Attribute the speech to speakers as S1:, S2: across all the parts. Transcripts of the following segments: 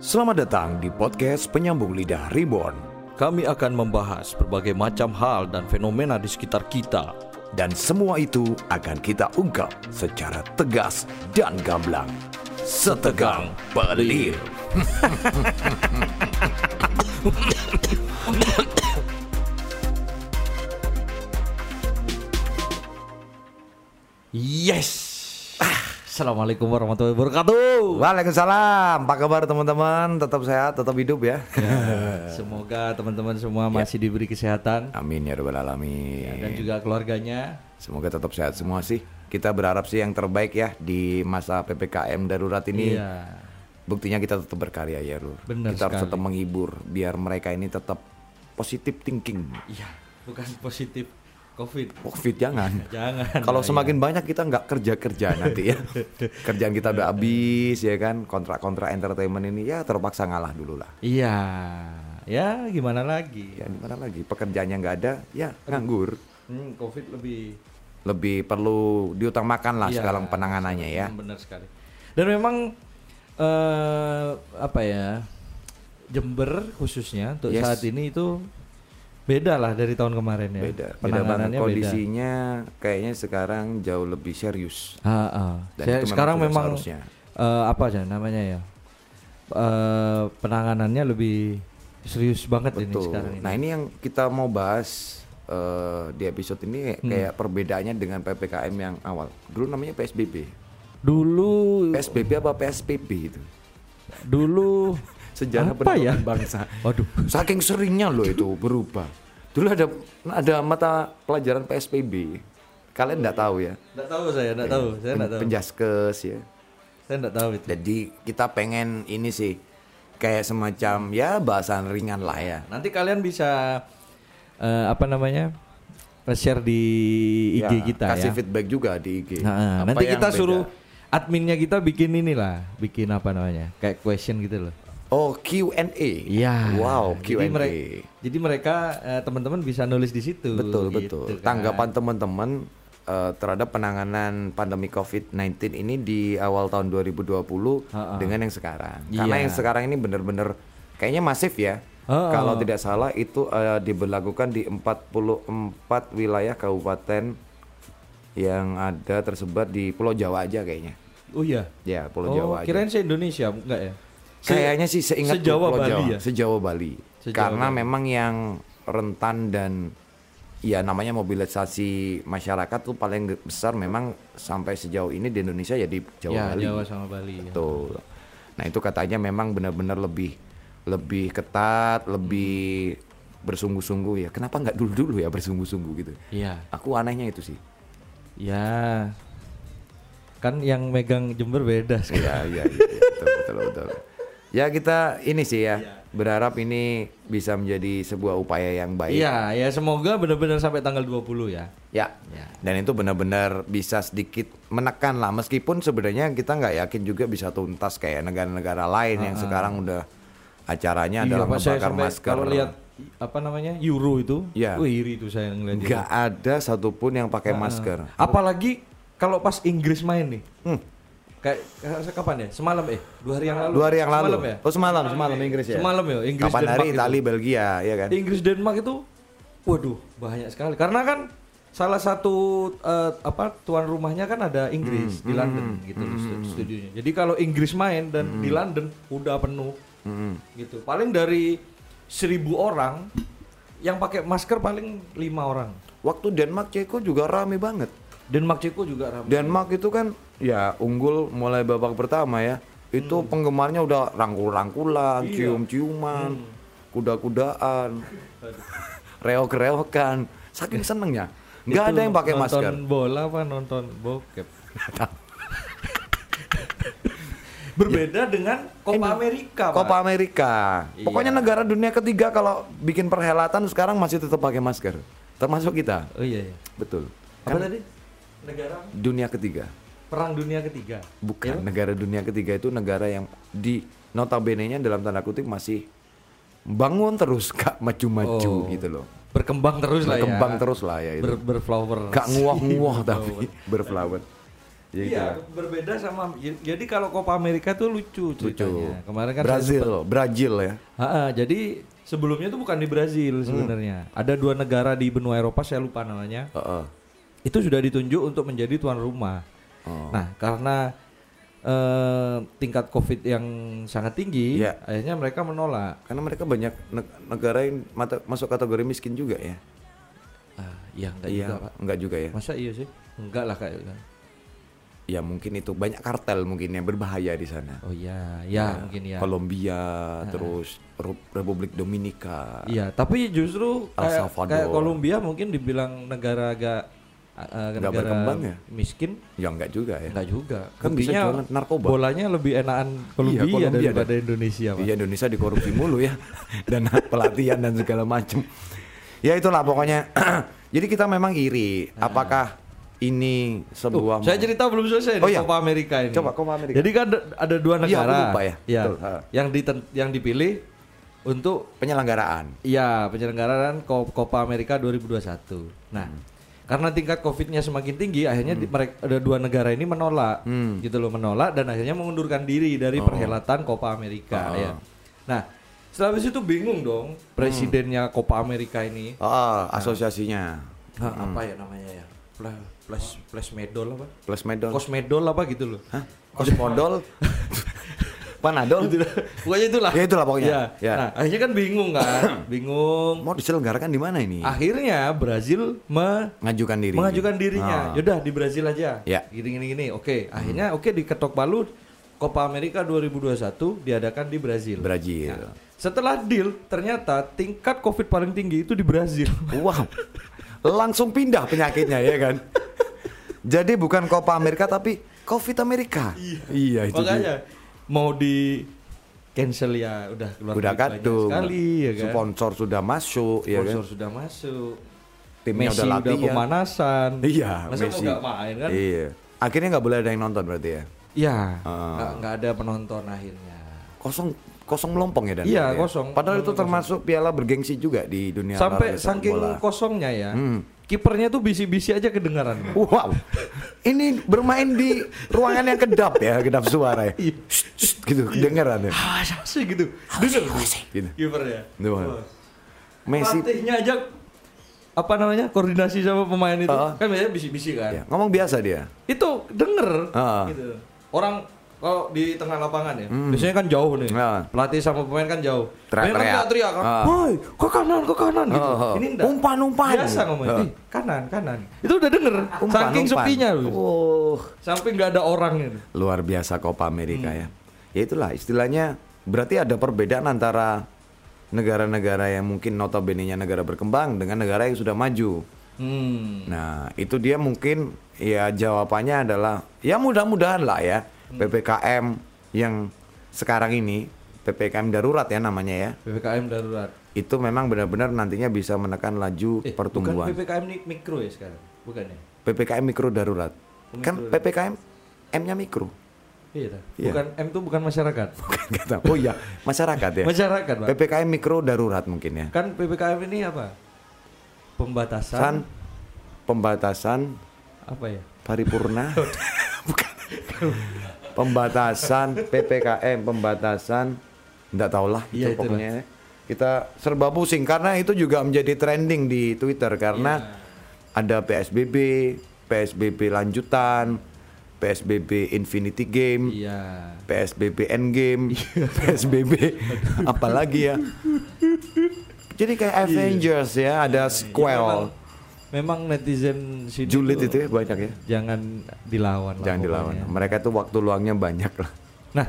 S1: Selamat datang di podcast Penyambung Lidah Reborn.
S2: Kami akan membahas berbagai macam hal dan fenomena di sekitar kita.
S1: Dan semua itu akan kita ungkap secara tegas dan gamblang. Setegang pelir.
S2: Yes. Assalamualaikum warahmatullahi wabarakatuh.
S1: Waalaikumsalam. Apa kabar teman-teman? Tetap sehat, tetap hidup ya.
S2: Semoga teman-teman semua masih diberi kesehatan
S1: Amin ya rabbal alamin.
S2: dan juga keluarganya.
S1: Semoga tetap sehat semua sih. Kita berharap sih yang terbaik ya di masa PPKM darurat ini.
S2: Iya.
S1: Buktinya kita tetap berkarya ya, Lur.
S2: Benar
S1: kita harus
S2: sekali.
S1: tetap menghibur biar mereka ini tetap positive thinking.
S2: Iya, bukan positif COVID.
S1: Covid jangan.
S2: Jangan. Iya.
S1: Kalau semakin banyak kita nggak kerja kerja nanti ya. Kerjaan kita udah habis ya kan. Kontrak-kontrak entertainment ini ya terpaksa ngalah dulu lah.
S2: Iya. Ya, gimana lagi?
S1: Ya dimana lagi pekerjaannya nggak ada ya nganggur.
S2: Hmm, COVID lebih
S1: Lebih perlu diutamakan lah Nah,
S2: Iya,
S1: sekarang penanganannya ya.
S2: Hmm, Benar sekali. Dan memang eh apa ya? Jember khususnya untuk
S1: Yes.
S2: saat ini itu beda lah dari tahun kemarin ya.
S1: Beda, beda banget
S2: Penanganannya beda.
S1: kondisinya kayaknya sekarang jauh lebih serius.
S2: Ah, ah.
S1: Dan
S2: Saya
S1: itu memang
S2: sekarang
S1: sudah
S2: memang
S1: seharusnya.
S2: eh, apa aja namanya ya? Eh penanganannya lebih serius banget ini
S1: Betul.
S2: sekarang ini.
S1: Nah ini yang kita mau bahas eh, di episode ini
S2: Hmm.
S1: kayak perbedaannya dengan ppkm yang awal. Dulu namanya psbb.
S2: Uh. Dulu
S1: PSBB apa PSPB itu?
S2: dulu
S1: Sejarah
S2: apa ya?
S1: penurunan bangsa.
S2: Waduh.
S1: Saking seringnya loh itu berubah. Dulu ada ada mata pelajaran PSPB. Kalian nggak tahu ya?
S2: Enggak tahu saya, enggak tahu. Saya enggak tahu.
S1: Penjaskes ya.
S2: Saya enggak tahu itu.
S1: Jadi kita pengen ini sih kayak semacam ya bahasan ringan lah ya.
S2: Nanti kalian bisa eh, apa namanya share di IG
S1: Ya,
S2: kita
S1: kasih
S2: ya.
S1: feedback juga di IG.
S2: Nah,
S1: Apa
S2: nanti
S1: yang
S2: kita
S1: beda?
S2: suruh adminnya kita bikin inilah, bikin apa namanya kayak question gitu loh.
S1: Oh Q&A.
S2: Iya.
S1: Wow Q&A.
S2: Jadi mereka, jadi mereka eh, teman-teman bisa nulis di situ.
S1: Betul betul.
S2: gitu kan.
S1: Tanggapan teman-teman eh, terhadap penanganan pandemi COVID-19 ini di awal tahun 2020 dengan yang sekarang. Karena
S2: Iya.
S1: yang sekarang ini benar-benar kayaknya masif ya.
S2: Ha-ha.
S1: Kalau tidak salah itu eh, diberlakukan di 44 wilayah kabupaten yang ada tersebar di Pulau Jawa aja kayaknya.
S2: Oh iya.
S1: Ya, Pulau
S2: oh,
S1: Jawa aja.
S2: kirain saya Indonesia enggak ya? Se-
S1: Kayaknya sih seingat
S2: sejawa
S1: Pulau
S2: Bali
S1: Jawa,
S2: ya.
S1: sejawa Bali.
S2: Sejawa
S1: Karena memang yang rentan dan ya namanya mobilisasi masyarakat tuh paling ge- besar memang sampai sejauh ini di Indonesia ya di Jawa
S2: ya,
S1: Bali.
S2: Jawa sama Bali. ya.
S1: Betul. Nah, itu katanya memang benar-benar lebih lebih ketat, lebih bersungguh-sungguh ya. Kenapa nggak dulu-dulu ya bersungguh-sungguh gitu?
S2: Iya.
S1: Aku anehnya itu sih.
S2: Ya. Kan yang megang Jember beda sekali.
S1: Iya, iya, iya, iya. betul, betul, betul. Ya kita ini sih
S2: Iya.
S1: ya, berharap ini bisa menjadi sebuah upaya yang baik.
S2: Iya, ya semoga benar-benar sampai tanggal 20 ya.
S1: Ya.
S2: Ya.
S1: Dan itu benar-benar bisa sedikit menekan lah, meskipun sebenarnya kita nggak yakin juga bisa tuntas kayak negara-negara lain yang sekarang udah acaranya adalah
S2: Iya, Pak, saya
S1: membakar
S2: sampai
S1: masker.
S2: Kalau lihat apa namanya? Euro itu,
S1: Iya.
S2: wih iri itu saya ngeliat. itu. Ah.
S1: nggak ada satupun yang pakai masker. Hmm,
S2: Apalagi kalau pas Inggris main nih. Kayak kayak kapan ya? Semalam eh, dua hari yang lalu.
S1: Dua hari yang lalu.
S2: Semalam ya?
S1: Oh semalam, semalam Inggris ya.
S2: Semalam ya, Inggris
S1: Kapan hari
S2: Denmark itu. Iya.
S1: Itali, Belgia, ya kan?
S2: Inggris Denmark itu waduh, banyak sekali. Karena kan salah satu eh, apa tuan rumahnya kan ada Inggris
S1: Hmm,
S2: di London gitu loh, stu- studionya. Jadi kalau Inggris main dan di
S1: Hmm.
S2: London udah penuh. Gitu. Paling dari seribu orang yang pakai masker paling lima orang.
S1: Waktu Denmark Ceko juga rame banget.
S2: Denmark Ceko juga ramai.
S1: Denmark itu kan ya unggul mulai babak pertama ya. Itu penggemarnya udah rangkul-rangkulan, cium-ciuman, kuda-kudaan, reok-reokan, saking senengnya. Nggak ada yang pakai masker.
S2: Nonton bola apa nonton bokep? Berbeda dengan Copa Amerika, Pak.
S1: Iya. Copa Amerika. Pokoknya negara dunia ketiga kalau bikin perhelatan sekarang masih tetap pakai masker. Termasuk kita.
S2: Oh iya iya.
S1: Betul. Kan
S2: Apa tadi? Negara apa?
S1: Dunia ketiga.
S2: Perang Dunia Ketiga. Iya.
S1: Bukan negara dunia ketiga itu negara yang di notabene-nya dalam tanda kutip masih bangun terus gak maju-maju
S2: Oh.
S1: gitu loh.
S2: Berkembang terus lah ya.
S1: Berkembang terus lah ya itu.
S2: Ber berflower.
S1: gak nguah-nguah tapi berflower. Iya,
S2: Iya, berbeda sama j- jadi kalau Copa America tuh lucu
S1: Lucu.
S2: ceritanya. Kemarin kan saya Iya.
S1: Brazil, Brazil ya.
S2: Ha-ha, jadi sebelumnya itu bukan di
S1: Hmm.
S2: Brazil sebenarnya. Ada dua negara di benua Eropa saya lupa namanya.
S1: Heeh.
S2: Itu sudah ditunjuk untuk menjadi tuan rumah.
S1: Oh.
S2: Nah, karena eh, tingkat Covid yang sangat tinggi,
S1: Iya.
S2: akhirnya mereka menolak.
S1: Karena mereka banyak neg- negara yang mata- masuk kategori miskin juga ya.
S2: Ah, iya, enggak
S1: iya,
S2: juga, Pak.
S1: enggak juga ya.
S2: Masa iya sih? Enggak lah gitu. kayaknya.
S1: Ya mungkin itu banyak kartel mungkin yang berbahaya di sana.
S2: Oh iya, ya, mungkin ya.
S1: Kolombia, terus Ru- Republik Dominika.
S2: Iya, tapi justru
S1: El
S2: kayak,
S1: Salvador.
S2: kayak Kolombia mungkin dibilang negara agak eh,
S1: Nggak
S2: negara
S1: berkembang ya?
S2: miskin
S1: Ya enggak juga ya.
S2: enggak juga.
S1: Kan bisa
S2: Buktinya
S1: jualan narkoba. Iya,
S2: Bolanya lebih enakan Kolombia,
S1: Kolombia
S2: daripada Indonesia, Pak.
S1: Iya Indonesia dikorupsi mulu ya dan pelatihan dan segala macem. Ya itulah pokoknya. Jadi kita memang iri. Apakah ini
S2: Tuh,
S1: sebuah
S2: saya cerita belum selesai
S1: Oh
S2: nih,
S1: iya.
S2: Copa Amerika ini.
S1: Coba, Copa America.
S2: Jadi kan ada- ada dua
S1: Iya,
S2: negara.
S1: aku lupa ya. Betul, ha.
S2: yang diten- yang dipilih untuk
S1: penyelenggaraan?
S2: ya penyelenggaraan Co- Copa Amerika 2021. Nah,
S1: Hmm.
S2: karena tingkat Covid-nya semakin tinggi, akhirnya di- mereka ada dua negara ini menolak,
S1: Hmm.
S2: gitu loh menolak dan akhirnya mengundurkan diri dari perhelatan Copa Amerika.
S1: Oh.
S2: Ya. Nah, setelah itu bingung dong
S1: Hmm.
S2: presidennya Copa Amerika ini
S1: Oh, asosiasinya
S2: Nah,
S1: Hmm.
S2: apa ya namanya ya? Pla- Flash Flash Medol apa?
S1: plus medol,
S2: Kosmedol apa gitu loh.
S1: Hah? kosmodol, panadol.
S2: Pokoknya itulah.
S1: Ya, itulah pokoknya.
S2: Ya.
S1: Ya. Hmm.
S2: Nah, akhirnya kan bingung kan? bingung.
S1: Mau diselenggarakan di mana ini?
S2: Akhirnya Brazil me-
S1: Mengajukan Iya. diri.
S2: Ah. mengajukan dirinya.
S1: Ah.
S2: Yaudah di Brazil aja.
S1: Ya. Hmm.
S2: Gini gini gini. Oke, akhirnya oke diketok palu Copa America 2021 diadakan di Brazil. Nah,
S1: Brazil.
S2: Setelah deal, ternyata tingkat Covid paling tinggi itu di Brazil.
S1: Wow. Langsung pindah penyakitnya ya kan. Jadi bukan Copa Amerika tapi Covid Amerika. Iya, itu dia.
S2: Makanya mau di cancel ya udah keluar
S1: Udah
S2: duit banyak
S1: kadung.
S2: sekali ya kan.
S1: Sponsor sudah masuk ya kan.
S2: Sponsor sudah masuk.
S1: Timnya
S2: Messi
S1: udah
S2: udah,
S1: latihan.
S2: pemanasan.
S1: Iya,
S2: Masa mau nggak main kan?
S1: Iya. Akhirnya nggak boleh ada yang nonton berarti ya.
S2: Iya.
S1: Ah.
S2: nggak- nggak ada penonton akhirnya.
S1: Kosong kosong melompong ya dan
S2: Iya,
S1: ya?
S2: kosong.
S1: Padahal itu termasuk piala bergengsi juga di dunia
S2: Sampai
S1: olahraga sepak
S2: saking
S1: bola.
S2: kosongnya ya.
S1: Hmm.
S2: Kipernya tuh bisi-bisi aja kedengaran.
S1: Wow, ini bermain di ruangan yang kedap ya, kedap suara ya.
S2: Iya.
S1: Shh, shh, gitu, kedengeran ya.
S2: Ah, sih gitu. Dengar
S1: Gitu.
S2: kipernya.
S1: Tuh.
S2: Wah.
S1: Messi
S2: Pelatihnya aja apa namanya? Koordinasi sama pemain itu.
S1: Ah.
S2: Kan biasanya bisi-bisi kan.
S1: ya, ngomong biasa dia.
S2: Itu denger
S1: Ah. Hmm.
S2: gitu. Orang kalau di tengah lapangan ya, biasanya kan jauh nih.
S1: Ah.
S2: Pelatih sama pemain kan jauh.
S1: Teriak-teriak.
S2: Mereka kan teriak kan,
S1: Ah.
S2: "Woi, ke kanan, ke kanan" gitu.
S1: Ah, ah.
S2: Ini enggak.
S1: Umpan-umpan.
S2: Biasa ngomongnya,
S1: Ah.
S2: "Ih, kanan, kanan. Itu udah denger. Saking
S1: umpan.
S2: sepinya loh. Uh.
S1: Oh,
S2: Sampai nggak ada orang gitu.
S1: luar biasa Copa Amerika ya.
S2: Hmm.
S1: Ya itulah istilahnya berarti ada perbedaan antara negara-negara yang mungkin notabene-nya negara berkembang dengan negara yang sudah maju.
S2: Hmm.
S1: Nah, itu dia mungkin ya jawabannya adalah ya mudah-mudahan lah ya
S2: Hmm.
S1: PPKM yang sekarang ini PPKM darurat ya namanya ya.
S2: PPKM darurat.
S1: Itu memang benar-benar nantinya bisa menekan laju
S2: Eh,
S1: pertumbuhan.
S2: Bukan PPKM ini mikro ya sekarang. Bukan ya?
S1: PPKM mikro darurat.
S2: Oh,
S1: Kan PPKM M-nya mikro.
S2: Iya. dah.
S1: Iya.
S2: Bukan M itu bukan masyarakat.
S1: Nggak tahu. Oh iya, masyarakat ya.
S2: Masyarakat, Pak.
S1: PPKM mikro darurat mungkin ya.
S2: Kan PPKM ini apa? Pembatasan
S1: San pembatasan
S2: apa ya?
S1: paripurna. Bukan. pembatasan PPKM pembatasan enggak tahulah itu
S2: Iya, itulah.
S1: pokoknya. Kita serba pusing karena itu juga menjadi trending di Twitter karena ada PSBB, PSBB lanjutan, PSBB Infinity Game.
S2: Iya.
S1: PSBB Endgame, PSBB apalagi ya. Jadi kayak Avengers ya, ada
S2: Iya, Memang,
S1: sequel.
S2: memang netizen sini
S1: Julid
S2: tuh
S1: itu ya banyak ya.
S2: Jangan dilawan lah
S1: Jangan dilawan.
S2: pokoknya.
S1: Mereka tuh waktu luangnya banyak lah.
S2: Nah,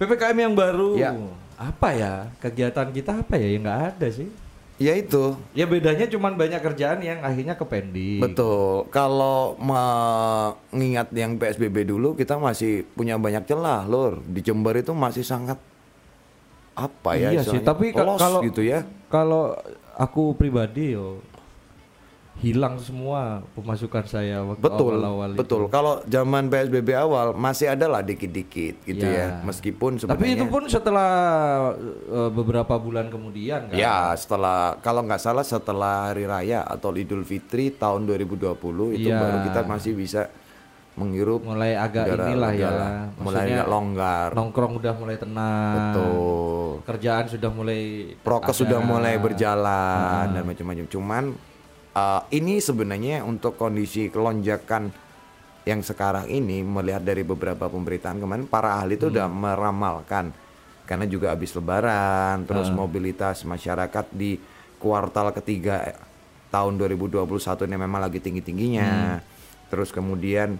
S2: PPKM yang baru
S1: Ya.
S2: apa ya? Kegiatan kita apa ya? Ya nggak ada sih.
S1: Ya itu.
S2: Ya bedanya cuman banyak kerjaan yang akhirnya
S1: Iya.
S2: kepending.
S1: Betul. Kalau mengingat yang PSBB dulu kita masih punya banyak celah, Lur. Di Jember itu masih sangat apa ya
S2: Iya sih,
S1: istilahnya,
S2: tapi ka-
S1: lost
S2: kalau-
S1: gitu ya.
S2: Kalau aku pribadi yo hilang semua pemasukan saya waktu
S1: Betul,
S2: awal-awal itu.
S1: betul. Kalau zaman PSBB awal masih ada lah dikit-dikit gitu
S2: Ya.
S1: ya. Meskipun sebenarnya
S2: Tapi itu pun setelah eh, beberapa bulan kemudian kan.
S1: Ya, setelah kalau nggak salah setelah Hari Raya atau Idul Fitri tahun 2020 itu
S2: Iya.
S1: baru kita masih bisa menghirup
S2: mulai agak
S1: udara-
S2: inilah ya
S1: udara. mulai
S2: Maksudnya
S1: agak longgar
S2: nongkrong udah mulai tenang
S1: betul
S2: kerjaan sudah mulai
S1: prokes
S2: ada.
S1: sudah mulai berjalan dan macam-macam. Cuman uh, ini sebenarnya untuk kondisi kelonjakan yang sekarang ini melihat dari beberapa pemberitaan kemarin para ahli itu udah meramalkan karena juga habis lebaran terus mobilitas masyarakat di kuartal ketiga eh, tahun 2021 ini memang lagi tinggi-tingginya. Terus kemudian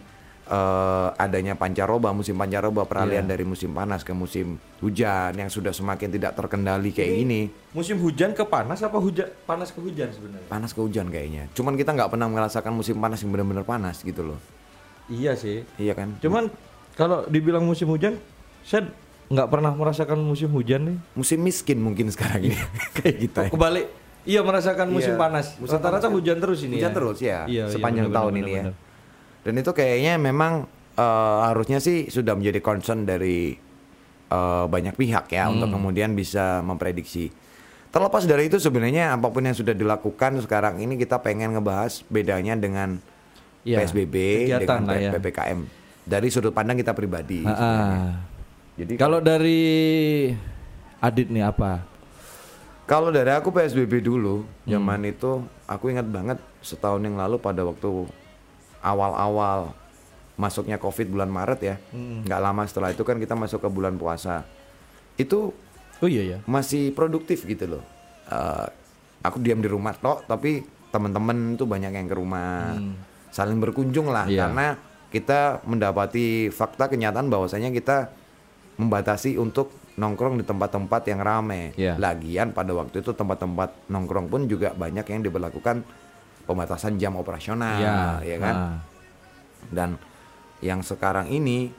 S1: eh, adanya pancaroba, musim pancaroba peralihan dari musim panas ke musim hujan yang sudah semakin tidak terkendali kayak gini.
S2: musim hujan ke panas apa hujan panas ke hujan sebenarnya
S1: Panas ke hujan kayaknya. Cuman kita nggak pernah merasakan musim panas yang benar-benar panas gitu loh.
S2: iya sih
S1: Iya kan?
S2: cuman kalau dibilang musim hujan saya nggak pernah merasakan musim hujan nih
S1: Musim miskin mungkin sekarang
S2: Iya.
S1: ini kayak kita. ya.
S2: kebalik iya merasakan
S1: Iya,
S2: musim panas
S1: musim
S2: rata-rata
S1: panas.
S2: hujan terus ini
S1: Hujan
S2: ya.
S1: terus ya
S2: Iya, iya,
S1: sepanjang
S2: benar-benar,
S1: tahun ini ya.
S2: benar-benar.
S1: Dan itu kayaknya memang eh, harusnya sih sudah menjadi concern dari eh, banyak pihak ya untuk
S2: Hmm.
S1: kemudian bisa memprediksi. Terlepas dari itu sebenarnya apapun yang sudah dilakukan sekarang ini kita pengen ngebahas bedanya dengan
S2: Iya,
S1: PSBB dengan
S2: kegiatan lah ya.
S1: PPKM dari sudut pandang kita pribadi.
S2: Ah,
S1: Iya, sebenarnya.
S2: ah.
S1: Jadi
S2: kalau dari Adit nih apa
S1: Kalau dari aku PSBB dulu, zaman itu aku ingat banget setahun yang lalu pada waktu awal-awal masuknya COVID bulan Maret ya, nggak lama setelah itu kan kita masuk ke bulan puasa, itu
S2: oh iya ya
S1: masih produktif gitu loh. Eh, aku diam di rumah toh, tapi teman-teman tuh banyak yang ke rumah, saling berkunjung lah
S2: Hmm. Iya.
S1: karena kita mendapati fakta kenyataan bahwasanya kita membatasi untuk nongkrong di tempat-tempat yang rame.
S2: Iya.
S1: Lagian pada waktu itu tempat-tempat nongkrong pun juga banyak yang diberlakukan pembatasan jam operasional, ya kan?
S2: ah.
S1: Dan yang sekarang ini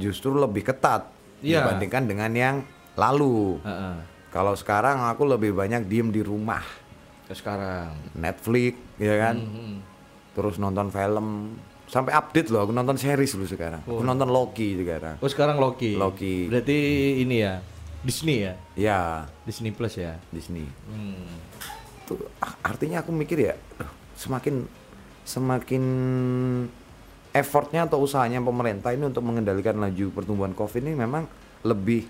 S1: justru lebih ketat
S2: Iya.
S1: dibandingkan dengan yang lalu.
S2: Ah, ah.
S1: Kalau sekarang aku lebih banyak diem di rumah,
S2: Ke sekarang
S1: Netflix, ya kan?
S2: Mhm.
S1: Terus nonton film, sampai update loh. Aku nonton series lu sekarang. Aku nonton Loki sekarang.
S2: Oh sekarang Loki.
S1: Loki.
S2: Berarti ini ya Disney ya,
S1: Ya,
S2: Disney Plus ya.
S1: Disney.
S2: Hmm.
S1: Itu ah, artinya aku mikir ya, aduh, semakin semakin effortnya atau usahanya pemerintah ini untuk mengendalikan laju pertumbuhan COVID ini memang lebih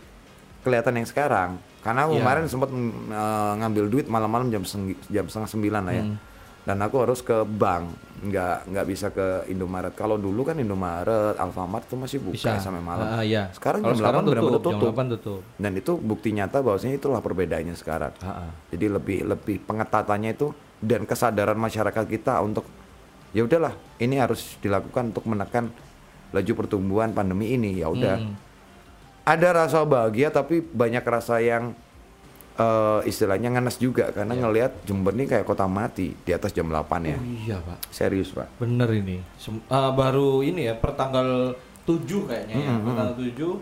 S1: kelihatan yang sekarang. Karena aku
S2: Iya.
S1: kemarin sempat mm, eh, ngambil duit malam-malam jam seng- jam setengah sembilan lah ya.
S2: Hmm.
S1: Dan aku harus ke bank, nggak nggak bisa ke Indomaret. Kalau dulu kan Indomaret, Alfamart itu masih buka
S2: Bisa
S1: sampai malam.
S2: Ah, iya.
S1: Sekarang
S2: Kalau
S1: jam delapan benar-benar
S2: Jam
S1: tutup.
S2: 8 tutup.
S1: Dan itu bukti nyata bahwasanya itulah perbedaannya sekarang.
S2: Ah, ah.
S1: Jadi lebih lebih pengetatannya itu dan kesadaran masyarakat kita untuk ya udahlah ini harus dilakukan untuk menekan laju pertumbuhan pandemi ini ya udah.
S2: Hmm.
S1: Ada rasa bahagia tapi banyak rasa yang eh, istilahnya ngenes juga karena ngelihat Jember nih kayak kota mati di atas jam 8 ya.
S2: Ya. Oh iya pak,
S1: Serius, Pak.
S2: bener ini. Sem- ah, baru ini ya pertanggal 7 kayaknya ya.
S1: Mm-hmm.
S2: Pertanggal 7 eh,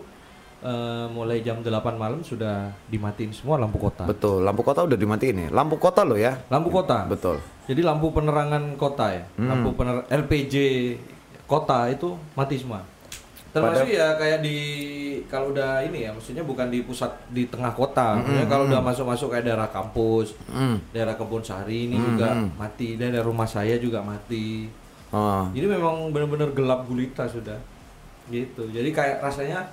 S2: mulai jam 8 malam sudah dimatiin semua lampu kota.
S1: Betul, lampu kota udah dimatiin nih. Lampu kota loh ya.
S2: lampu kota.
S1: Betul.
S2: Jadi lampu penerangan kota ya,
S1: Hmm.
S2: lampu pener LPG kota itu mati semua. Termasuk ya kayak di kalau udah ini ya, maksudnya bukan di pusat di tengah
S1: Hmm,
S2: kota. Maksudnya kalau udah masuk-masuk kayak daerah kampus, daerah kebun sari ini
S1: Hmm,
S2: juga mati, daerah rumah saya juga mati.
S1: Oh,
S2: Jadi memang benar-benar gelap gulita sudah. Gitu. Jadi kayak rasanya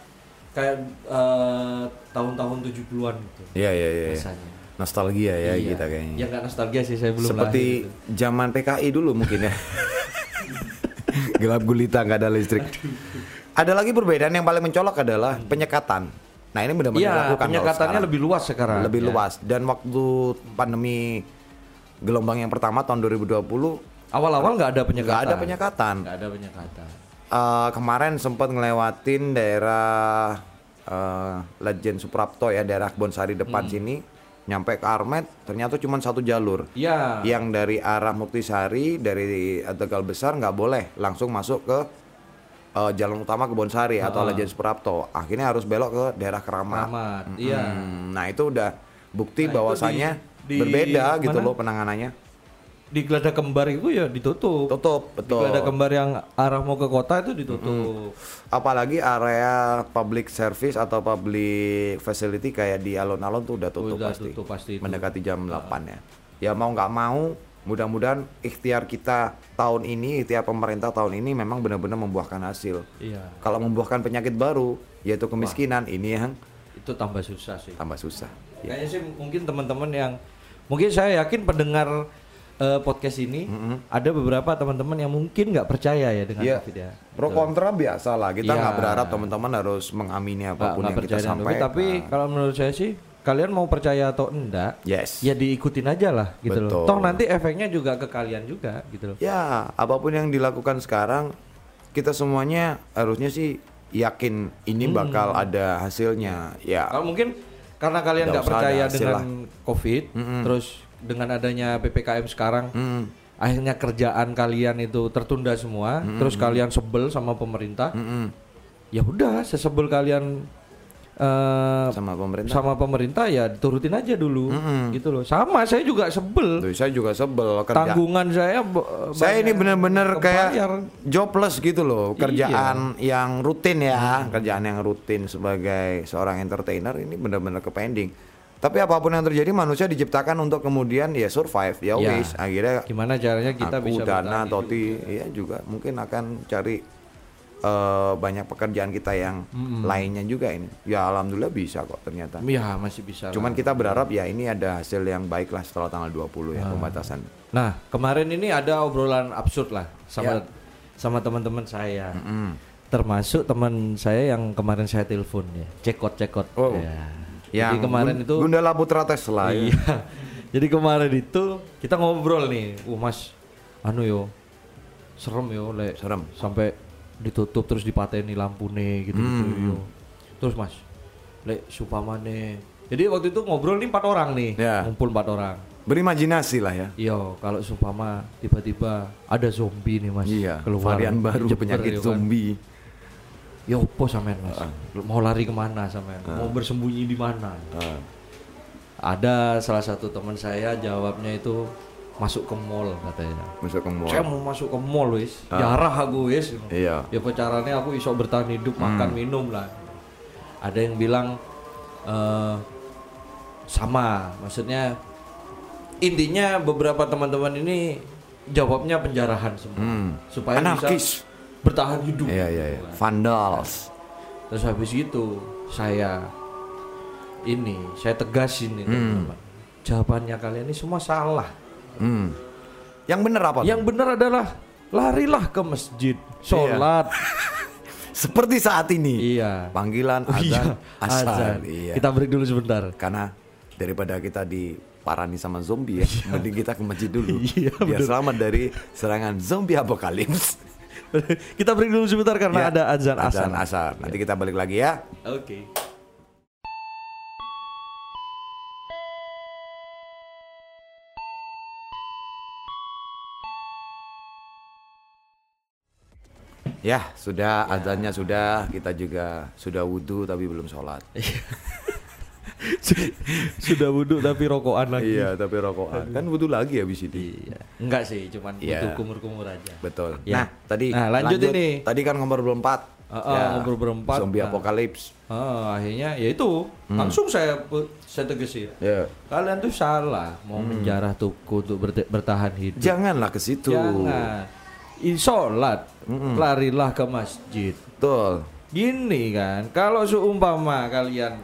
S2: kayak eh, tahun-tahun 70-an gitu
S1: iya iya iya.
S2: rasanya.
S1: Nostalgia ya
S2: Iya.
S1: kita kayaknya.
S2: Ya nggak nostalgia sih saya belum
S1: Seperti
S2: lahir gitu.
S1: zaman PKI dulu mungkin ya. Gelap gulita nggak ada listrik. Ada lagi perbedaan yang paling mencolok adalah penyekatan. Nah ini benar-benar
S2: Iya,
S1: dilakukan kalau
S2: penyekatannya
S1: sekarang.
S2: lebih luas sekarang.
S1: lebih
S2: Ya.
S1: luas. Dan waktu pandemi gelombang yang pertama tahun 2020
S2: Awal-awal nggak ada
S1: nggak
S2: penyekatan.
S1: ada penyekatan.
S2: Nggak ada penyekatan.
S1: Eh, kemarin sempat ngelewatin daerah eh, Legend Suprapto ya daerah Bonsari depan
S2: Hmm.
S1: sini, nyampe ke Armet ternyata cuma satu jalur.
S2: Iya.
S1: yang dari arah Muktisari dari Tegal Besar nggak boleh langsung masuk ke eh, jalan utama Kebonsari atau Legend Suprapto. Akhirnya harus belok ke daerah Keramat.
S2: Keramat. Iya.
S1: Hmm, nah itu udah bukti
S2: Nah, itu
S1: bahwasannya
S2: di- di
S1: berbeda gitu
S2: mana?
S1: loh penanganannya.
S2: Di Gelada Kembar itu ya ditutup.
S1: Tutup
S2: Di
S1: betul.
S2: Gelada Kembar yang arah mau ke kota itu ditutup.
S1: Apalagi area public service atau public facility kayak di alun-alun tuh udah tutup
S2: Udah
S1: pasti.
S2: tutup pasti itu.
S1: Mendekati jam 8 ya. Ya mau nggak mau Mudah-mudahan ikhtiar kita tahun ini, ikhtiar pemerintah tahun ini memang benar-benar membuahkan hasil.
S2: Iya.
S1: Kalau membuahkan penyakit baru, yaitu kemiskinan, ini yang
S2: Itu tambah susah sih.
S1: tambah susah. Ya.
S2: Kayaknya sih mungkin teman-teman yang mungkin saya yakin pendengar eh, podcast ini ada beberapa teman-teman yang mungkin nggak percaya ya dengan
S1: Iya.
S2: COVID ya.
S1: Pro kontra biasa lah. Kita
S2: Iya.
S1: nggak berharap teman-teman harus mengamini
S2: Nggak-
S1: apapun
S2: nggak
S1: yang kita
S2: percaya dengan
S1: sampaikan.
S2: COVID, tapi kalau menurut saya sih kalian mau percaya atau enggak
S1: yes.
S2: ya diikutin aja lah gitu
S1: Betul.
S2: loh. Toh nanti efeknya juga ke kalian juga gitu loh.
S1: Ya, apapun yang dilakukan sekarang, kita semuanya harusnya sih yakin ini bakal ada hasilnya. Ya,
S2: Hmm. Kalau mungkin karena kalian
S1: Nggak
S2: nggak
S1: usah
S2: percaya
S1: ada hasil
S2: dengan COVID, terus dengan adanya PPKM sekarang
S1: Mm,
S2: akhirnya kerjaan kalian itu tertunda semua, terus kalian sebel sama pemerintah.
S1: mm-mm.
S2: Ya udah, sesebel kalian eh,
S1: sama pemerintah.
S2: sama pemerintah ya turutin aja dulu gitu loh. Sama saya juga sebel.
S1: Tuh, saya juga sebel kerja.
S2: Tanggungan saya b-
S1: Saya ini
S2: banyak
S1: benar-benar
S2: kebayar.
S1: kayak jobless gitu loh,
S2: Iya.
S1: kerjaan yang rutin ya, kerjaan yang rutin sebagai seorang entertainer ini benar-benar ke pending. Tapi apapun yang terjadi manusia diciptakan untuk kemudian ya survive, ya
S2: Ya.
S1: wis akhirnya
S2: gimana caranya kita
S1: aku
S2: bisa
S1: dana
S2: bertahan hidup?
S1: Toti ya juga mungkin akan cari eh, banyak pekerjaan kita yang lainnya juga ini ya alhamdulillah bisa kok ternyata
S2: Ya masih bisa. lah.
S1: cuman kita berharap ya ini ada hasil yang baik lah setelah tanggal 20 ya
S2: Ah.
S1: pembatasan
S2: Nah, kemarin ini ada obrolan absurd lah
S1: Ya.
S2: sama sama teman-teman saya. Termasuk teman saya yang kemarin saya telepon ya. Cekot cekot.
S1: Oh.
S2: Ya.
S1: yang
S2: Jadi kemarin
S1: Gun-
S2: itu
S1: Gundala Putra Tesla ya.
S2: Iya. Jadi kemarin itu kita ngobrol nih. Uh, Mas, anu yo. Serem yo, Lek.
S1: Serem.
S2: Sampai ditutup terus dipateni lampune gitu-gitu
S1: Hmm.
S2: yo. Terus Mas, Lek supamane. Jadi waktu itu ngobrol nih empat orang nih,
S1: Ya.
S2: ngumpul empat orang.
S1: berimajinasi lah ya
S2: Yo, Iya, kalau sumpama tiba-tiba ada zombie nih mas,
S1: iya
S2: keluar
S1: varian baru
S2: Jeber,
S1: penyakit
S2: yo kan.
S1: zombie
S2: Yo, apa sampean mas? Mau lari kemana sampean? Mau bersembunyi di mana?
S1: Ah.
S2: Ada salah satu teman saya jawabnya itu masuk ke mall katanya.
S1: masuk ke mall
S2: Saya mau masuk ke mall wis, jarah aku wis.
S1: Ah. iya Hmm.
S2: Ya apa caranya aku iso bertahan hidup makan minum lah. Ada yang bilang eh, sama, maksudnya intinya beberapa teman-teman ini jawabnya penjarahan semua
S1: Hmm.
S2: supaya
S1: Anarkis.
S2: bisa bertahan hidup. Gitu
S1: iya iya iya vandals
S2: Terus habis gitu saya ini saya tegasin ini teman-teman. Jawabannya kalian ini semua salah.
S1: Hmm. yang bener apa tuh?
S2: Yang benar adalah larilah ke masjid, sholat.
S1: seperti saat ini
S2: Iya.
S1: panggilan
S2: Oh
S1: azan
S2: azan.
S1: azan iya
S2: Kita break dulu sebentar.
S1: karena daripada kita diparani sama zombie ya, mending kita ke masjid dulu.
S2: Iya,
S1: biar selamat dari serangan zombie apokalips.
S2: Kita break dulu sebentar karena
S1: Ya,
S2: ada Iya. azan asar. Iya.
S1: azan asar. Nanti kita balik lagi ya.
S2: Oke.
S1: Ya, sudah azannya sudah, kita juga sudah wudhu tapi belum sholat.
S2: Sudah wudhu tapi rokokan lagi.
S1: iya, tapi rokokan. Kan wudhu lagi habis itu.
S2: Iya. Enggak sih, cuman
S1: Iya.
S2: butuh kumur-kumur aja.
S1: Betul.
S2: Ya.
S1: Nah, tadi
S2: Nah, lanjut ini.
S1: Tadi kan nomor berempat. Ya,
S2: Ah, ah, ngobrol berempat.
S1: Zombie
S2: Nah.
S1: apokalips.
S2: Ah, akhirnya ya itu langsung saya pu- saya tegesin.
S1: Ya.
S2: Kalian tuh salah mau menjarah tuku untuk berte- bertahan hidup.
S1: Janganlah ke situ.
S2: Jangan. I- Sholat, larilah ke masjid.
S1: Betul.
S2: Gini kan, kalau seumpama kalian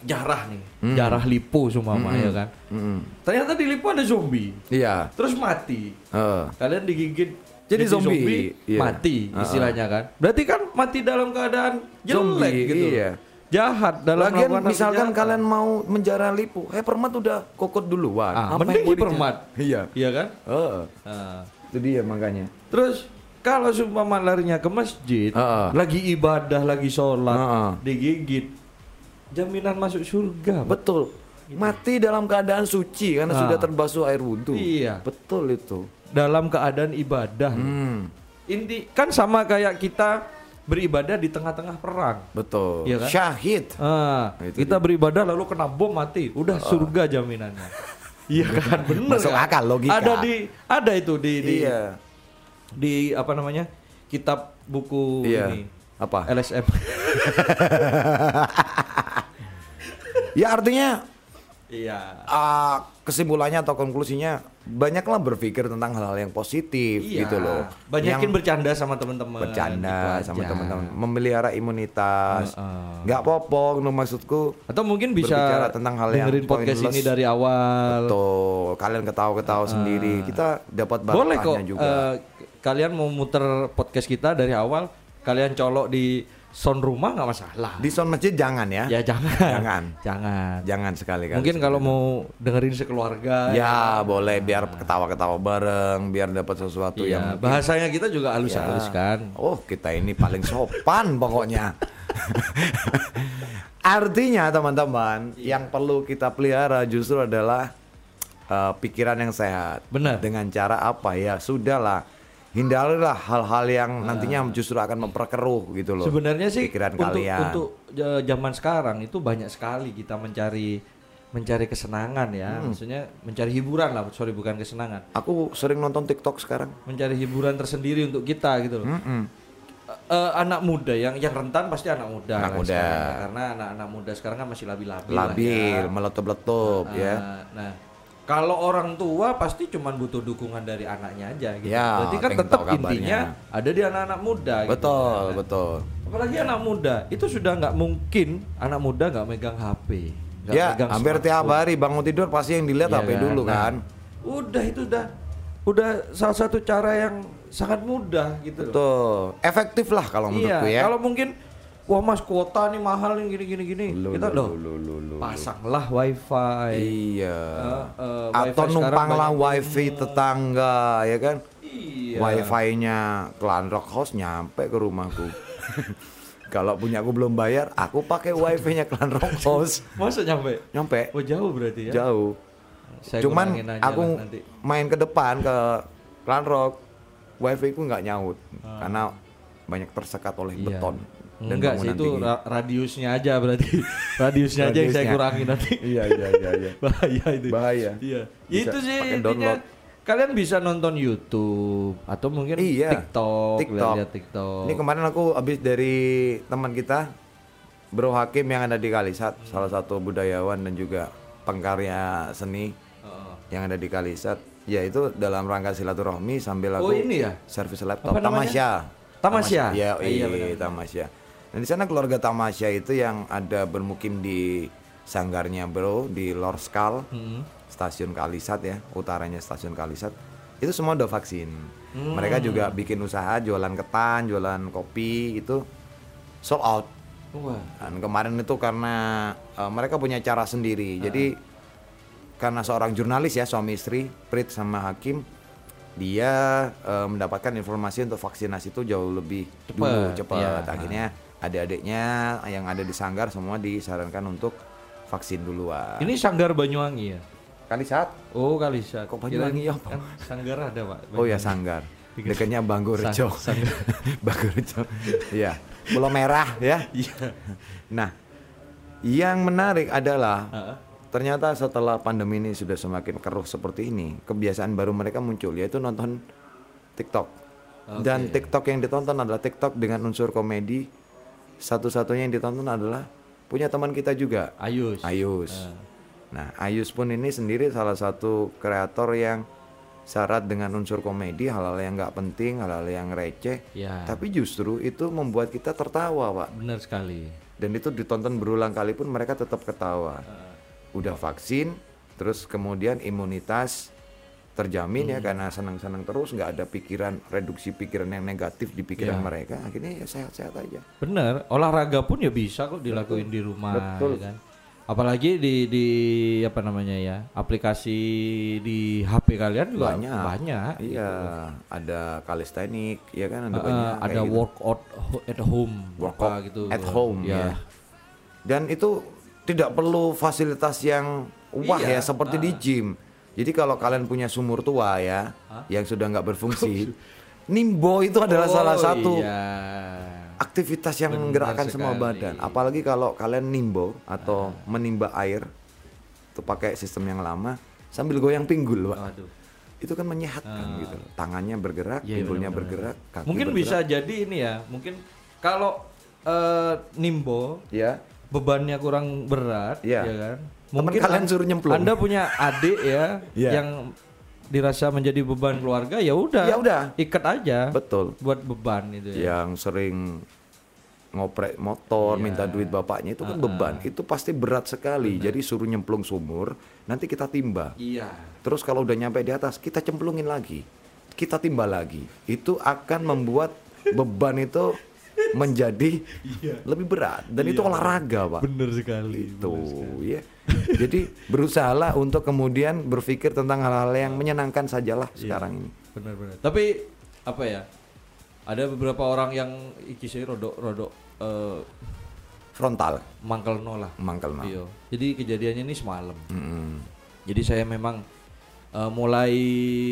S2: jarah nih,
S1: Hmm.
S2: jarah lipo seumpama ya kan.
S1: Mm-mm.
S2: Ternyata di lipo ada zombie,
S1: Iya.
S2: terus mati.
S1: Eh.
S2: Kalian digigit
S1: Jadi zombie, iya.
S2: mati
S1: Uh-uh.
S2: istilahnya kan. Berarti kan mati dalam keadaan jelek
S1: Zombie,
S2: gitu.
S1: iya.
S2: Jahat dalam
S1: Lagian
S2: melakukan hal
S1: misalkan
S2: kejahatan.
S1: kalian mau menjarah lipu, eh permat udah kokot duluan.
S2: ah,
S1: Apa
S2: mending
S1: yang mau
S2: hipermat.
S1: dijar- Iya.
S2: Iya kan?
S1: Heeh.
S2: Ah.
S1: itu dia makanya.
S2: Terus kalau seumpama larinya ke masjid,
S1: Ah, ah.
S2: lagi ibadah, lagi sholat,
S1: Ah, ah.
S2: digigit, jaminan masuk surga. Pak.
S1: Betul. Mati dalam keadaan suci karena
S2: Ah.
S1: sudah terbasuh air wudhu.
S2: Iya.
S1: Betul itu.
S2: Dalam keadaan ibadah.
S1: Hmm,
S2: Inti kan sama kayak kita beribadah di tengah-tengah perang.
S1: betul.
S2: Iya kan?
S1: Syahid.
S2: Ah,
S1: Nah, Itu Ah.
S2: kita beribadah lalu kena bom mati, udah surga jaminannya. Iya kan, bener.
S1: Masuk
S2: kan?
S1: akal, logika.
S2: Ada di, ada itu di, di,
S1: Iya.
S2: di apa namanya kitab buku
S1: Iya.
S2: ini
S1: Apa?
S2: LSM.
S1: Ya artinya
S2: Iya.
S1: Ya,
S2: Iya.
S1: ah, kesimpulannya atau konklusinya banyaklah berpikir tentang hal-hal yang positif
S2: Iya.
S1: gitu loh.
S2: Banyakin
S1: Yang-
S2: bercanda sama teman-teman.
S1: bercanda
S2: gitu
S1: sama
S2: aja.
S1: teman-teman memelihara imunitas
S2: Heeh.
S1: nggak popok no, maksudku
S2: Atau mungkin bisa
S1: Berbicara tentang hal yang
S2: dengerin podcast
S1: pointless.
S2: ini dari awal.
S1: betul kalian ketawa-ketawa sendiri kita dapat
S2: Ah. Boleh
S1: barokahnya
S2: kok.
S1: juga
S2: eh, kalian mau muter podcast kita dari awal, kalian colok di sound rumah nggak masalah.
S1: di sound masjid jangan ya
S2: ya jangan.
S1: Jangan.
S2: Jangan.
S1: jangan sekali kali
S2: Mungkin kalau mau dengerin sekeluarga.
S1: ya boleh biar ketawa-ketawa bareng biar dapat sesuatu
S2: Iya,
S1: yang ya.
S2: bahasanya kita juga halus-halus kan.
S1: Oh, kita ini paling sopan pokoknya. Artinya teman-teman,
S2: Iya.
S1: yang perlu kita pelihara justru adalah eh, pikiran yang sehat.
S2: Benar.
S1: Dengan cara apa ya? Sudahlah. Hindarilah hal-hal yang nantinya justru akan memperkeruh gitu loh.
S2: Ah. Sebenarnya sih
S1: pikiran
S2: untuk
S1: kalian.
S2: untuk eh, zaman sekarang itu banyak sekali kita mencari mencari kesenangan ya.
S1: Hmm.
S2: Maksudnya mencari hiburan lah, sorry bukan kesenangan.
S1: Aku sering nonton TikTok sekarang.
S2: mencari hiburan tersendiri untuk kita gitu loh. Eh, eh, anak muda yang yang rentan pasti anak muda.
S1: Anak
S2: lah
S1: muda.
S2: sekarang. ya, Karena anak-anak muda sekarang kan masih labil-labil. lah
S1: Labil,
S2: ya.
S1: meletup-letup
S2: Nah,
S1: ya.
S2: Nah, kalau orang tua pasti cuman butuh dukungan dari anaknya aja gitu.
S1: Ya,
S2: Berarti kan
S1: pengen
S2: tetap
S1: tahu kabarnya.
S2: intinya ada di anak-anak muda gitu.
S1: Betul, betul.
S2: Apalagi anak muda, itu sudah nggak mungkin anak muda nggak megang HP. nggak
S1: Ya,
S2: megang
S1: hampir tiap hari bangun tidur pasti yang dilihat
S2: Iya
S1: HP
S2: kan?
S1: dulu
S2: Nah,
S1: kan.
S2: Udah itu udah udah salah satu cara yang sangat mudah gitu loh.
S1: Betul. Efektif lah kalau
S2: Iya,
S1: menurutku ya.
S2: kalau mungkin wah Mas kuota nih mahal nih gini gini gini.
S1: Lu,
S2: Kita
S1: lu,
S2: loh
S1: lu, lu, lu, lu.
S2: pasanglah wifi.
S1: Iya.
S2: Eh, eh,
S1: Atau
S2: wifi sekarang
S1: numpanglah
S2: banyak
S1: wifi tetangga ya kan.
S2: Iya.
S1: Wifi-nya Klan Rock House nyampe ke rumahku. Kalau punya aku belum bayar, aku pakai wifi-nya Klan Rock House.
S2: Masa nyampe?
S1: Nyampe
S2: Oh jauh berarti ya.
S1: jauh.
S2: Saya
S1: Cuman
S2: kurangin aja
S1: aku
S2: lah nanti.
S1: main ke depan ke Klan Rock, wifi ku nggak nyaut karena banyak tersekat oleh
S2: Ah. Iya.
S1: beton dan
S2: Enggak sih
S1: bangunan
S2: itu
S1: tinggi.
S2: ra- radiusnya aja berarti. radiusnya aja yang saya
S1: Radiusnya.
S2: kurangin nanti.
S1: Iya iya iya iya.
S2: bahaya itu
S1: Bahaya.
S2: iya
S1: Bisa
S2: itu sih
S1: pakai
S2: intinya
S1: download.
S2: kalian bisa nonton YouTube atau mungkin
S1: Iya.
S2: TikTok
S1: TikTok.
S2: lihat TikTok
S1: Ini kemarin aku habis dari teman kita Bro Hakim yang ada di Kalisat,
S2: Hmm.
S1: salah satu budayawan dan juga pengkarya seni
S2: Heeh.
S1: yang ada di Kalisat. Ya itu dalam rangka silaturahmi sambil
S2: oh
S1: aku
S2: ini ya
S1: servis laptop
S2: Apa namanya?
S1: Tamasya.
S2: Tamasya?
S1: Ya,
S2: Ah,
S1: iya,
S2: iya, benar.
S1: Tamasya. Nah, di sana keluarga Tamasya itu yang ada bermukim di sanggarnya Bro di Lorskal,
S2: Hmm.
S1: stasiun Kalisat ya, utaranya stasiun Kalisat. Itu semua udah vaksin.
S2: Hmm.
S1: Mereka juga bikin usaha jualan ketan, jualan kopi itu sold out.
S2: wah
S1: Dan kemarin itu karena eh, mereka punya cara sendiri.
S2: Ah.
S1: Jadi karena seorang jurnalis ya suami istri Prit sama Hakim dia eh, mendapatkan informasi untuk vaksinasi itu jauh lebih dulu
S2: Cepet,
S1: cepat.
S2: iya.
S1: Akhirnya adik-adiknya yang ada di sanggar semua disarankan untuk vaksin duluan.
S2: ini Sanggar Banyuwangi ya
S1: Kali saat
S2: oh Kalisa
S1: Kok Banyuwangi
S2: Kirain
S1: apa?
S2: kan Sanggar ada pak
S1: Oh ya sanggar. Dekatnya Banggur Rejo.
S2: Sang- Sanggar.
S1: Banggur Rejo. Iya. Pulau Merah ya.
S2: iya
S1: Nah, yang menarik adalah
S2: Heeh.
S1: ternyata setelah pandemi ini sudah semakin keruh seperti ini, kebiasaan baru mereka muncul yaitu nonton TikTok. Dan TikTok yang ditonton adalah TikTok dengan unsur komedi. Satu-satunya yang ditonton adalah punya teman kita juga,
S2: Ayus
S1: Ayus. Nah, Ayus pun ini sendiri salah satu kreator yang syarat dengan unsur komedi, hal-hal yang nggak penting, hal-hal yang receh.
S2: ya
S1: Tapi justru itu membuat kita tertawa, Pak
S2: benar sekali
S1: dan itu ditonton berulang kali pun mereka tetap ketawa. Udah vaksin, terus kemudian imunitas terjamin ya karena senang-senang terus nggak ada pikiran reduksi pikiran yang negatif di pikiran mereka akhirnya ya sehat-sehat aja.
S2: Bener, olahraga pun ya bisa kok dilakuin di rumah,
S1: Betul.
S2: ya kan? Apalagi di di apa namanya ya, aplikasi di HP kalian juga
S1: Banyak.
S2: banyak.
S1: Iya, ada kalistenik, ya kan ada
S2: Eh,
S1: banyak kayak
S2: ada
S1: gitu.
S2: workout ho- at home,
S1: Workout
S2: apa gitu.
S1: at home ya.
S2: ya.
S1: Dan itu tidak perlu fasilitas yang wah
S2: Iya.
S1: ya seperti
S2: Ah.
S1: di gym. Jadi kalau kalian punya sumur tua ya yang sudah nggak berfungsi, nimbo itu adalah
S2: Oh,
S1: salah satu
S2: Iya.
S1: aktivitas yang
S2: Benar
S1: menggerakkan semua
S2: sekali. Ah.
S1: badan. Apalagi kalau kalian nimbo atau menimba air itu pakai sistem yang lama sambil goyang pinggul, Pak.
S2: Waduh.
S1: Itu kan menyehatkan gitu. Tangannya bergerak, pinggulnya bergerak, kaki
S2: Ah. Iya, Mungkin
S1: bergerak.
S2: bisa jadi ini ya, mungkin kalau eh, nimbo
S1: ya.
S2: bebannya kurang berat
S1: Iya.
S2: ya kan
S1: Temen kalian
S2: an-
S1: suruh nyemplung.
S2: anda punya adik ya
S1: Iya.
S2: yang dirasa menjadi beban keluarga ya udah
S1: Ya udah.
S2: ikat aja
S1: Betul. Iya.
S2: buat beban itu ya
S1: Yang sering ngoprek
S2: Iya.
S1: motor, minta duit bapaknya itu kan beban. Itu pasti berat sekali. Jadi suruh nyemplung sumur, nanti kita timba.
S2: iya
S1: Terus kalau udah nyampe di atas, kita cemplungin lagi. Kita timba lagi. Itu akan membuat beban itu menjadi lebih berat dan itu olahraga, Pak.
S2: bener Iya. sekali
S1: Itu, ya. Jadi berusahalah untuk kemudian berpikir tentang hal-hal yang menyenangkan sajalah
S2: Iya.
S1: sekarang ini.
S2: benar-benar tapi apa ya ada beberapa orang yang iki sih rodok rodok eh,
S1: Frontal,
S2: mangkel no lah
S1: mangkal nah.
S2: Iya. jadi kejadiannya ini semalam
S1: Mm-mm.
S2: jadi saya memang eh, mulai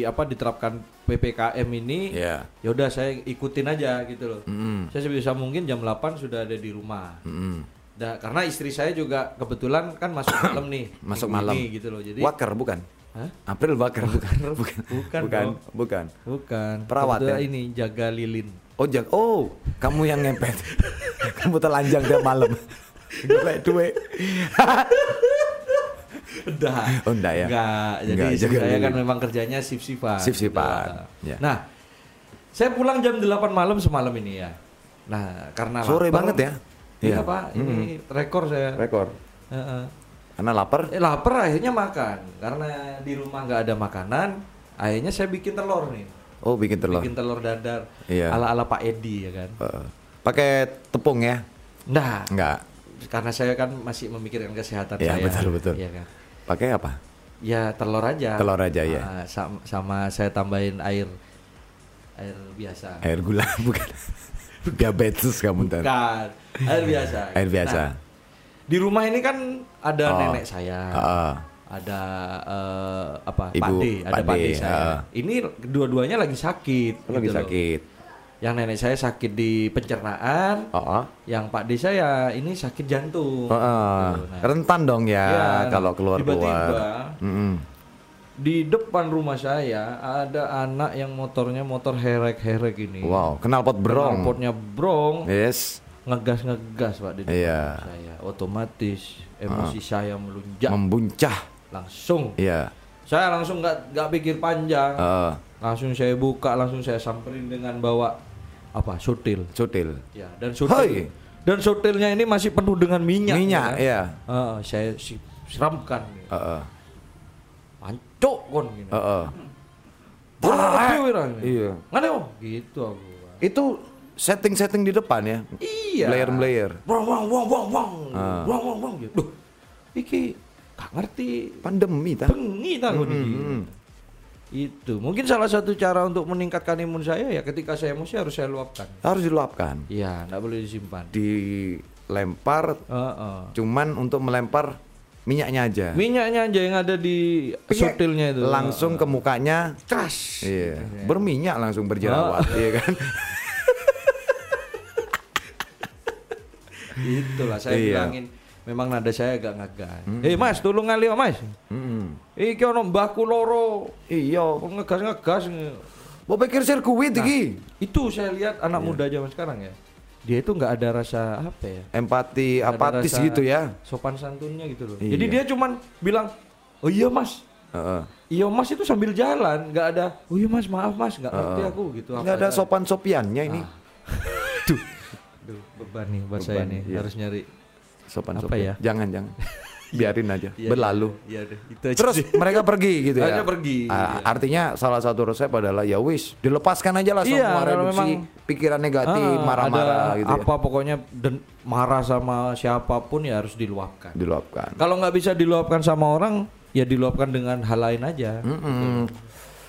S2: apa diterapkan ppkm ini
S1: Ya.
S2: ya udah saya ikutin aja gitu loh
S1: Mm-mm.
S2: saya sebisa mungkin jam 8 sudah ada di rumah
S1: Mm-mm.
S2: Nah, karena istri saya juga kebetulan kan masuk malam nih.
S1: Masuk
S2: minggu
S1: malam.
S2: ini gitu loh. Jadi
S1: Waker bukan?
S2: Hah?
S1: April Waker bukan? Bukan.
S2: Bukan,
S1: Bukan.
S2: dong.
S1: bukan.
S2: bukan
S1: Perawat,
S2: Kebetulan
S1: ya?
S2: ini jaga lilin.
S1: Oh, jag- oh, kamu yang ngempet. kamu telanjang tiap malam. Golek duit.
S2: Udah.
S1: Oh, enggak ya?
S2: Enggak. Jadi
S1: Enggak,
S2: istri
S1: jaga
S2: saya kan
S1: lilin.
S2: memang kerjanya sip-sipan.
S1: Sip-sipan,
S2: Gitu.
S1: ya.
S2: Nah, saya pulang jam 8 malam semalam ini ya. Nah, karena
S1: Sore
S2: lapar-
S1: banget ya?
S2: Iya,
S1: Iya.
S2: Pak. Ini rekor saya.
S1: Rekor.
S2: Heeh.
S1: Karena lapar.
S2: Eh, lapar akhirnya makan karena di rumah nggak ada makanan akhirnya saya bikin telur nih
S1: Oh, bikin telur.
S2: bikin telur dadar
S1: Iya.
S2: ala ala Pak Edi ya kan
S1: Heeh. Pakai tepung ya?
S2: nah
S1: Enggak.
S2: karena saya kan masih memikirkan kesehatan
S1: Iya,
S2: saya
S1: betul, betul.
S2: Iya kan
S1: Pakai apa?
S2: ya telur aja
S1: Telur aja, ya.
S2: Ah, sama, sama saya tambahin air air biasa
S1: Air gula bukan. Diabetes kamu ntar.
S2: bukan Kan, air biasa
S1: Air biasa.
S2: Nah, di rumah ini kan ada
S1: Oh.
S2: nenek saya
S1: Heeh.
S2: ada eh, apa
S1: Ibu,
S2: pakde ada
S1: pakde,
S2: pakde saya
S1: ah.
S2: ini kedua-duanya lagi sakit
S1: Lagi
S2: gitu loh.
S1: sakit.
S2: yang nenek saya sakit di pencernaan
S1: Heeh.
S2: yang pakde saya ini sakit jantung
S1: Oh, Heeh.
S2: Gitu, nah.
S1: Rentan dong ya,
S2: Ya,
S1: kalau
S2: tiba-tiba.
S1: keluar-keluar. Mm-mm.
S2: di depan rumah saya ada anak yang motornya motor herek-herek ini
S1: Wow, kenal pot berong.
S2: knalpotnya Iya. brong
S1: Yes,
S2: ngegas-ngegas pak di depan
S1: Iya.
S2: rumah saya otomatis emosi saya melunjak
S1: membuncah.
S2: langsung
S1: Iya. Ah. Eh,
S2: saya langsung nggak nggak pikir panjang
S1: Heeh.
S2: langsung saya buka langsung saya samperin dengan bawa apa sutil
S1: Sutil.
S2: ya dan sutil
S1: Hoi.
S2: dan sutilnya ini masih penuh dengan minyak
S1: Minyak,
S2: ya kan?
S1: iya. Ah.
S2: Heeh, saya si- siramkan gitu.
S1: Heeh.
S2: Ancok kon gini.
S1: Heeh.
S2: Waduh, Wira.
S1: Ah. eh. Iya.
S2: Ngene, oh, gitu aku.
S1: Itu setting-setting di depan ya.
S2: Iya.
S1: Layer-layer.
S2: Wang wang wang wang wang.
S1: Ah.
S2: Wang wang wang gitu. Duh. Iki gak ngerti
S1: Pandemi ta.
S2: bengi ta
S1: Hmm,
S2: kon iki. Itu mungkin salah satu cara untuk meningkatkan imun saya ya ketika saya emosi harus saya luapkan.
S1: Harus diluapkan.
S2: Iya, nggak boleh disimpan.
S1: Dilempar
S2: Heeh.
S1: cuman untuk melempar minyaknya aja.
S2: Minyaknya aja yang ada di sutilnya
S1: Eh.
S2: itu.
S1: Langsung ke mukanya.
S2: crash. Ah.
S1: Iya. Berminyak langsung berjerawat, iya kan?
S2: Itulah saya
S1: Iya. Hmm.
S2: bilangin. Memang nada saya agak ngagas. Eh mas, tolong ngalih mas.
S1: Mm-mm.
S2: Iki ono mbahku loro.
S1: Iya.
S2: Kok ngegas-ngegas.
S1: Mau pikir sirkuit
S2: Nah.
S1: iki.
S2: Itu saya lihat anak muda zaman sekarang ya. Dia itu nggak ada rasa apa ya?
S1: Empati,
S2: nggak ada
S1: apatis
S2: rasa
S1: gitu ya.
S2: Sopan santunnya gitu loh.
S1: Iya.
S2: Jadi dia cuman bilang, "Oh iya mas."
S1: Heeh.
S2: Iya mas itu sambil jalan, nggak ada. Oh iya mas, maaf mas, nggak ngerti aku gitu.
S1: Nggak ada
S2: Apa- Ah.
S1: sopan sopiannya ini. Duh,
S2: Aduh, beban nih buat saya
S1: Beban,
S2: nih.
S1: iya.
S2: Harus nyari.
S1: sopan
S2: Apa
S1: sopian.
S2: ya?
S1: Jangan jangan. Biarin aja.
S2: Iya,
S1: Berlalu.
S2: Iya deh, itu aja.
S1: Terus mereka pergi gitu ya.
S2: Akhirnya pergi,
S1: Ah,
S2: iya.
S1: Artinya salah satu resep adalah ya wis dilepaskan aja lah
S2: Iya,
S1: semua
S2: kalau
S1: reduksi
S2: memang-
S1: pikiran negatif,
S2: Ah,
S1: marah-marah
S2: ada
S1: gitu
S2: apa pokoknya den- marah sama siapapun ya harus diluapkan.
S1: ya. Diluapkan.
S2: Kalau nggak bisa diluapkan sama orang, ya diluapkan dengan hal lain aja. iya.
S1: Mm-mm.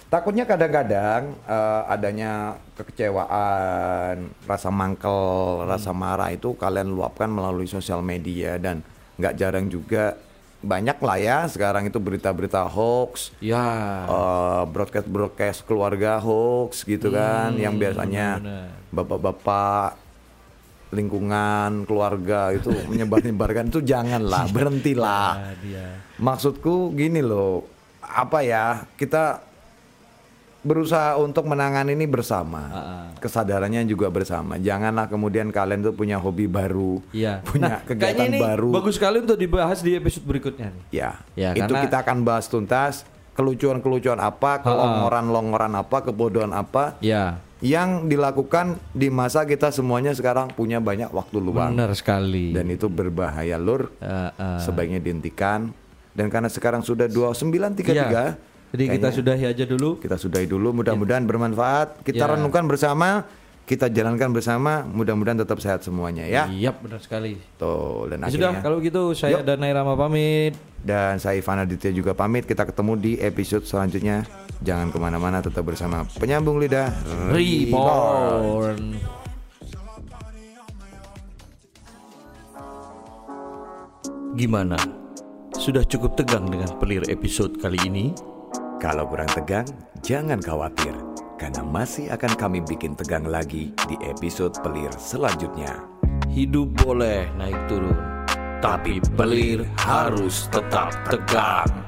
S1: Takutnya kadang-kadang eh, adanya kekecewaan, rasa mangkel,
S2: Hmm.
S1: rasa marah itu kalian luapkan melalui sosial media dan nggak jarang juga banyak lah ya sekarang itu berita-berita hoax,
S2: Ya,
S1: eh, broadcast-broadcast keluarga hoax gitu kan yang biasanya
S2: Hmm, benar-benar.
S1: bapak-bapak lingkungan keluarga itu menyebar-nyebarkan itu janganlah berhentilah
S2: ah, dia.
S1: Maksudku gini loh, apa ya kita berusaha untuk menangani ini bersama,
S2: Ah,
S1: kesadarannya juga bersama. Janganlah kemudian kalian tuh punya hobi baru,
S2: Iya.
S1: punya
S2: kayaknya
S1: kegiatan
S2: ini
S1: baru.
S2: Bagus sekali untuk dibahas di episode berikutnya nih.
S1: Ya,
S2: Ya,
S1: itu
S2: karena-
S1: kita akan bahas tuntas kelucuan-kelucuan apa, kelongoran-longoran apa, kebodohan apa
S2: Ya,
S1: yang dilakukan di masa kita semuanya sekarang punya banyak waktu luang
S2: benar sekali.
S1: dan itu berbahaya lur.
S2: Eh, eh.
S1: Sebaiknya dihentikan dan karena sekarang sudah 2933
S2: Ya. Jadi kita sudahi aja dulu.
S1: kita sudahi dulu mudah-mudahan bermanfaat kita
S2: Ya.
S1: renungkan bersama kita jalankan bersama mudah-mudahan tetap sehat semuanya ya
S2: Iya, benar sekali.
S1: tuh dan
S2: Ya
S1: akhirnya
S2: sudah, kalau gitu saya dan Nairama pamit.
S1: dan saya Ivan Aditya juga pamit kita ketemu di episode selanjutnya jangan kemana-mana tetap bersama penyambung lidah
S2: Reborn.
S3: Gimana? Sudah cukup tegang dengan pelir episode kali ini?
S4: Kalau kurang tegang, jangan khawatir, karena masih akan kami bikin tegang lagi di episode pelir selanjutnya.
S3: Hidup boleh naik turun, tapi pelir harus tetap tegang.